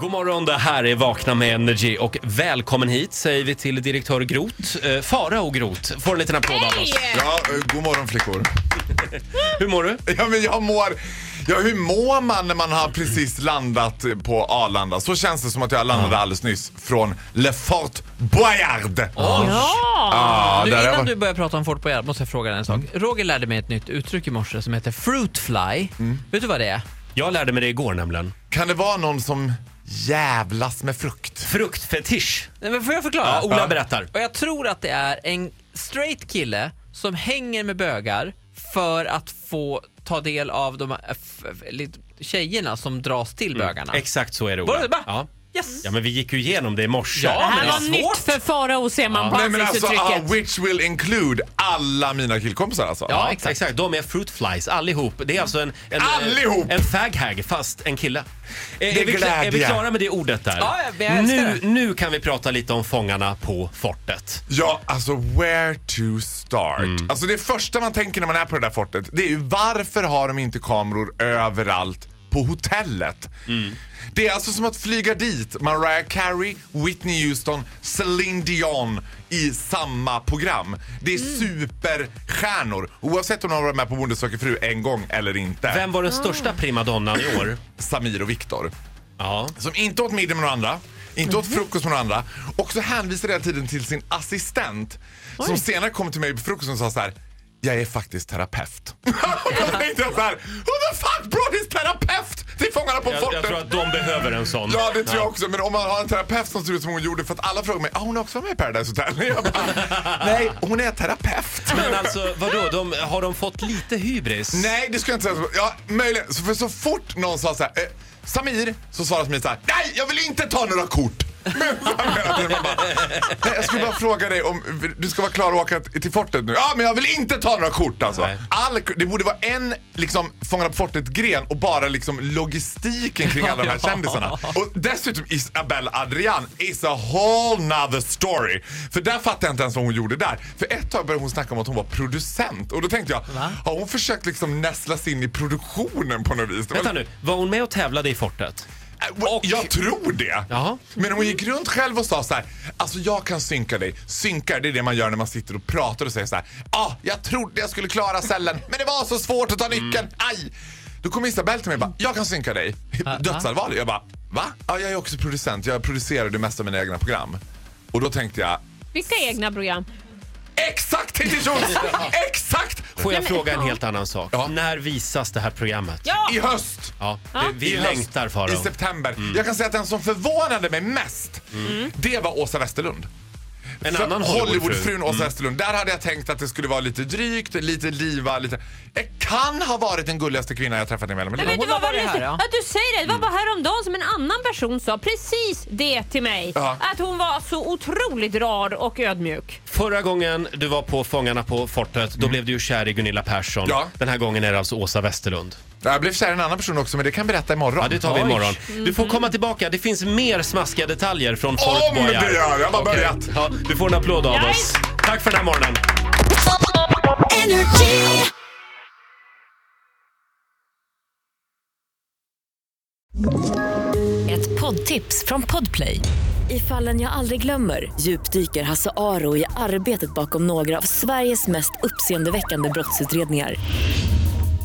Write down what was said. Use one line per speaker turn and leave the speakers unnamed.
God morgon, det här är Vakna med Energy och välkommen hit säger vi till direktör Groth. Eh, Farao Groth får en liten applåd av oss.
Ja, eh, god morgon flickor.
Hur mår du?
Ja, men jag mår... Ja, hur mår man när man har precis landat eh, på Arlanda? Så känns det som att jag landade alldeles nyss från Le Fort Boyard. Ah,
Du,
där har jag
innan
varit.
du börjar prata om Fort Boyard måste jag fråga dig en sak. Roger lärde mig ett nytt uttryck i morse som heter fruit fly. Vet du vad det är?
Jag lärde mig det igår nämligen.
Kan det vara någon som jävlas med frukt?
Fruktfetisch.
Nej, men får jag förklara?
Ja, Ola
Ja.
berättar.
Och jag tror att det är en straight kille som hänger med bögar för att få ta del av de här, f- f- lite tjejerna som dras till bögarna.
Exakt så är det
Var
Ola.
det bara?
Ja.
Yes!
ja, men vi gick ju igenom det i morse.
Ja,
Det här
men
var
det är
nytt
svårt.
för Farao ser man på
Nej men alltså,
ansiktsuttrycket.
ah, which will include alla mina killkompisar alltså.
Ja,
Exakt. Exakt, de är fruitflies allihop. Det är alltså en, en,
Allihop!
en faghag fast en kille. Eh, Är, vi, kla-
glädje.
är vi klara med det ordet där?
Ja, jag älskar
nu, nu kan vi prata lite om Fångarna på fortet.
Ja, alltså where to start? Alltså det första man tänker när man är på det där fortet, det är ju varför har de inte kameror överallt på hotellet? Det är alltså som att flyga dit Mariah Carey, Whitney Houston, Celine Dion i samma program. Det är superstjärnor oavsett om de har varit med på Bonde söker fru en gång eller inte.
Vem var den största primadonnan i år?
Samir och Viktor.
Ja.
Som inte åt middag med några andra, inte åt frukost med några andra. Och så hänvisade hela tiden till sin assistent som senare kom till mig på frukosten och sa så här. Jag är faktiskt terapeut. och då tänkte jag så här. Who the fuck brought his terapeut till Fångarna på
Jag, jag tror
fortet?
att de behöver en sån.
Ja, det tror jag också. Men om man har en terapeut som ser ut som hon gjorde, för att alla frågar mig, ah, hon är också med i Paradise Hotel? Jag bara, Nej, hon är terapeut.
Men alltså, vadå? De, har de fått lite hybris?
Nej, det skulle jag inte säga. Ja, möjligen. Så, för så fort någon sa så här, eh, Samir, så svarade Samir så här, nej, jag vill inte ta några kort. Men så här menar jag, man bara, nej, jag skulle bara fråga dig om du ska vara klar och åka till fortet nu. Ja, men jag vill inte ta några kort alltså.
Nej.
All, det borde vara en liksom, Fångarna på fortet-gren och bara liksom logistiken kring alla de här kändisarna. Och dessutom Isabelle Adrian is a whole nother story. För där fattar jag inte ens vad hon gjorde där. För ett tag började hon snacka om att hon var producent och då tänkte jag, har hon försökt liksom nästla sig in i produktionen på något vis? Det var-
Vänta nu, var hon med och tävlade i fortet?
Äh, och- Jag tror det.
Jaha.
Men hon gick runt själv och sa så här, alltså jag kan synka dig. Synkar, det är det man gör när man sitter och pratar och säger så här, ah, jag trodde jag skulle klara cellen, men det var så svårt att ta
Mm.
nyckeln, aj! Då kom Isabelle till mig och bara, jag kan synka dig. Dödsallvarlig. Jag bara, va? Ja, jag är också producent, jag producerar det mesta av mina egna program. Och då tänkte jag,
Vilka egna program?
exakt Titti Schultz! Exakt!
Får jag
Nej, men-
fråga en helt annan sak?
Ja.
När visas det här programmet?
Ja!
I höst!
Ja, det, vi
I höst,
längtar Mm.
I
Farao.
september. Jag kan säga att den som förvånade mig mest,
Mm.
det var Åsa Westerlund.
En
För
annan Hollywoodfru. Mm.
Hollywoodfrun Åsa Westerlund. Där hade jag tänkt att det skulle vara lite drygt, lite diva, lite... Jag kan ha varit den gulligaste kvinnan jag träffat i hela mitt
Men
liv.
vet du
hon
vad, vad
har varit
lustigt?
här, ja.
Att du säger det, det var bara häromdagen som en annan person sa precis det till mig.
Ja.
Att hon var så otroligt rar och ödmjuk.
Förra gången du var på Fångarna på fortet, då blev du ju kär i Gunilla Persson.
Mm. Ja.
Den här gången är det alltså Åsa Westerlund.
Jag blev kär i en annan person också, men det kan jag berätta imorgon.
Ja, det tar vi imorgon. Du får komma tillbaka. Det finns mer smaskiga detaljer från Fort
Om
Boyard.
det gör! Jag har bara
Okej.
börjat.
Ja, du får en applåd av
Nice.
oss. Tack för den här morgonen.
Ett poddtips från Podplay. I fallen jag aldrig glömmer djupdyker Hasse Aro i arbetet bakom några av Sveriges mest uppseendeväckande brottsutredningar.